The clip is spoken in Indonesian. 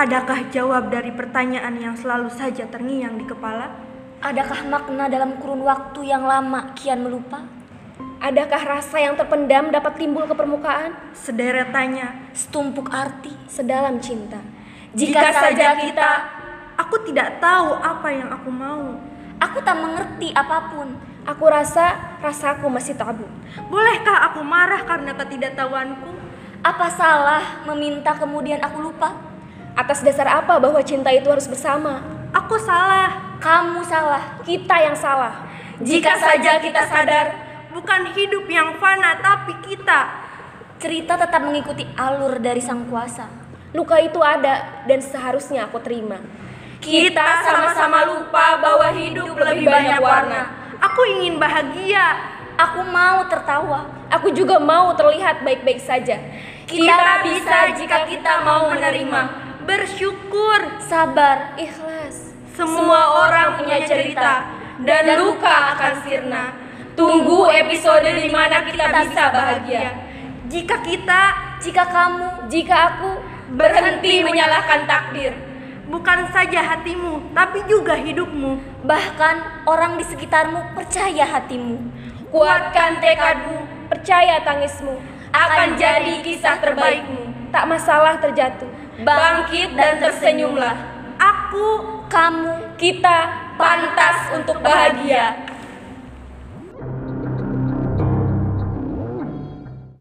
Adakah jawab dari pertanyaan yang selalu saja terngiang di kepala? Adakah makna dalam kurun waktu yang lama kian melupa? Adakah rasa yang terpendam dapat timbul ke permukaan? Sederet tanya, Setumpuk arti? Sedalam cinta. Jika, saja kita... aku tidak tahu apa yang aku mau. Aku tak mengerti apapun. Aku rasa rasaku masih tabu. Bolehkah aku marah karena ketidaktahuanku? Apa salah meminta kemudian aku lupa? Atas dasar apa bahwa cinta itu harus bersama? Aku salah. Kamu salah. Kita yang salah. Jika saja kita sadar, bukan hidup yang fana tapi kita. Cerita tetap mengikuti alur dari sang kuasa. Luka itu ada dan seharusnya aku terima. Kita sama-sama lupa bahwa hidup lebih banyak warna. Aku ingin bahagia. Aku mau tertawa. Aku juga mau terlihat baik-baik saja. Kita bisa jika kita mau menerima. Bersyukur. Sabar. Ikhlas. Semua orang punya cerita dan luka akan sirna. Tunggu episode di mana kita bisa bahagia. Jika kita Jika kamu Jika aku berhenti menyalahkan takdir, bukan saja hatimu, tapi juga hidupmu. bahkan orang di sekitarmu percaya hatimu Kuatkan tekadmu percaya tangismu, akan jadi kisah terbaikmu. tak masalah terjatuh. Bangkit dan tersenyumlah. Aku Kamu Kita pantas untuk bahagia.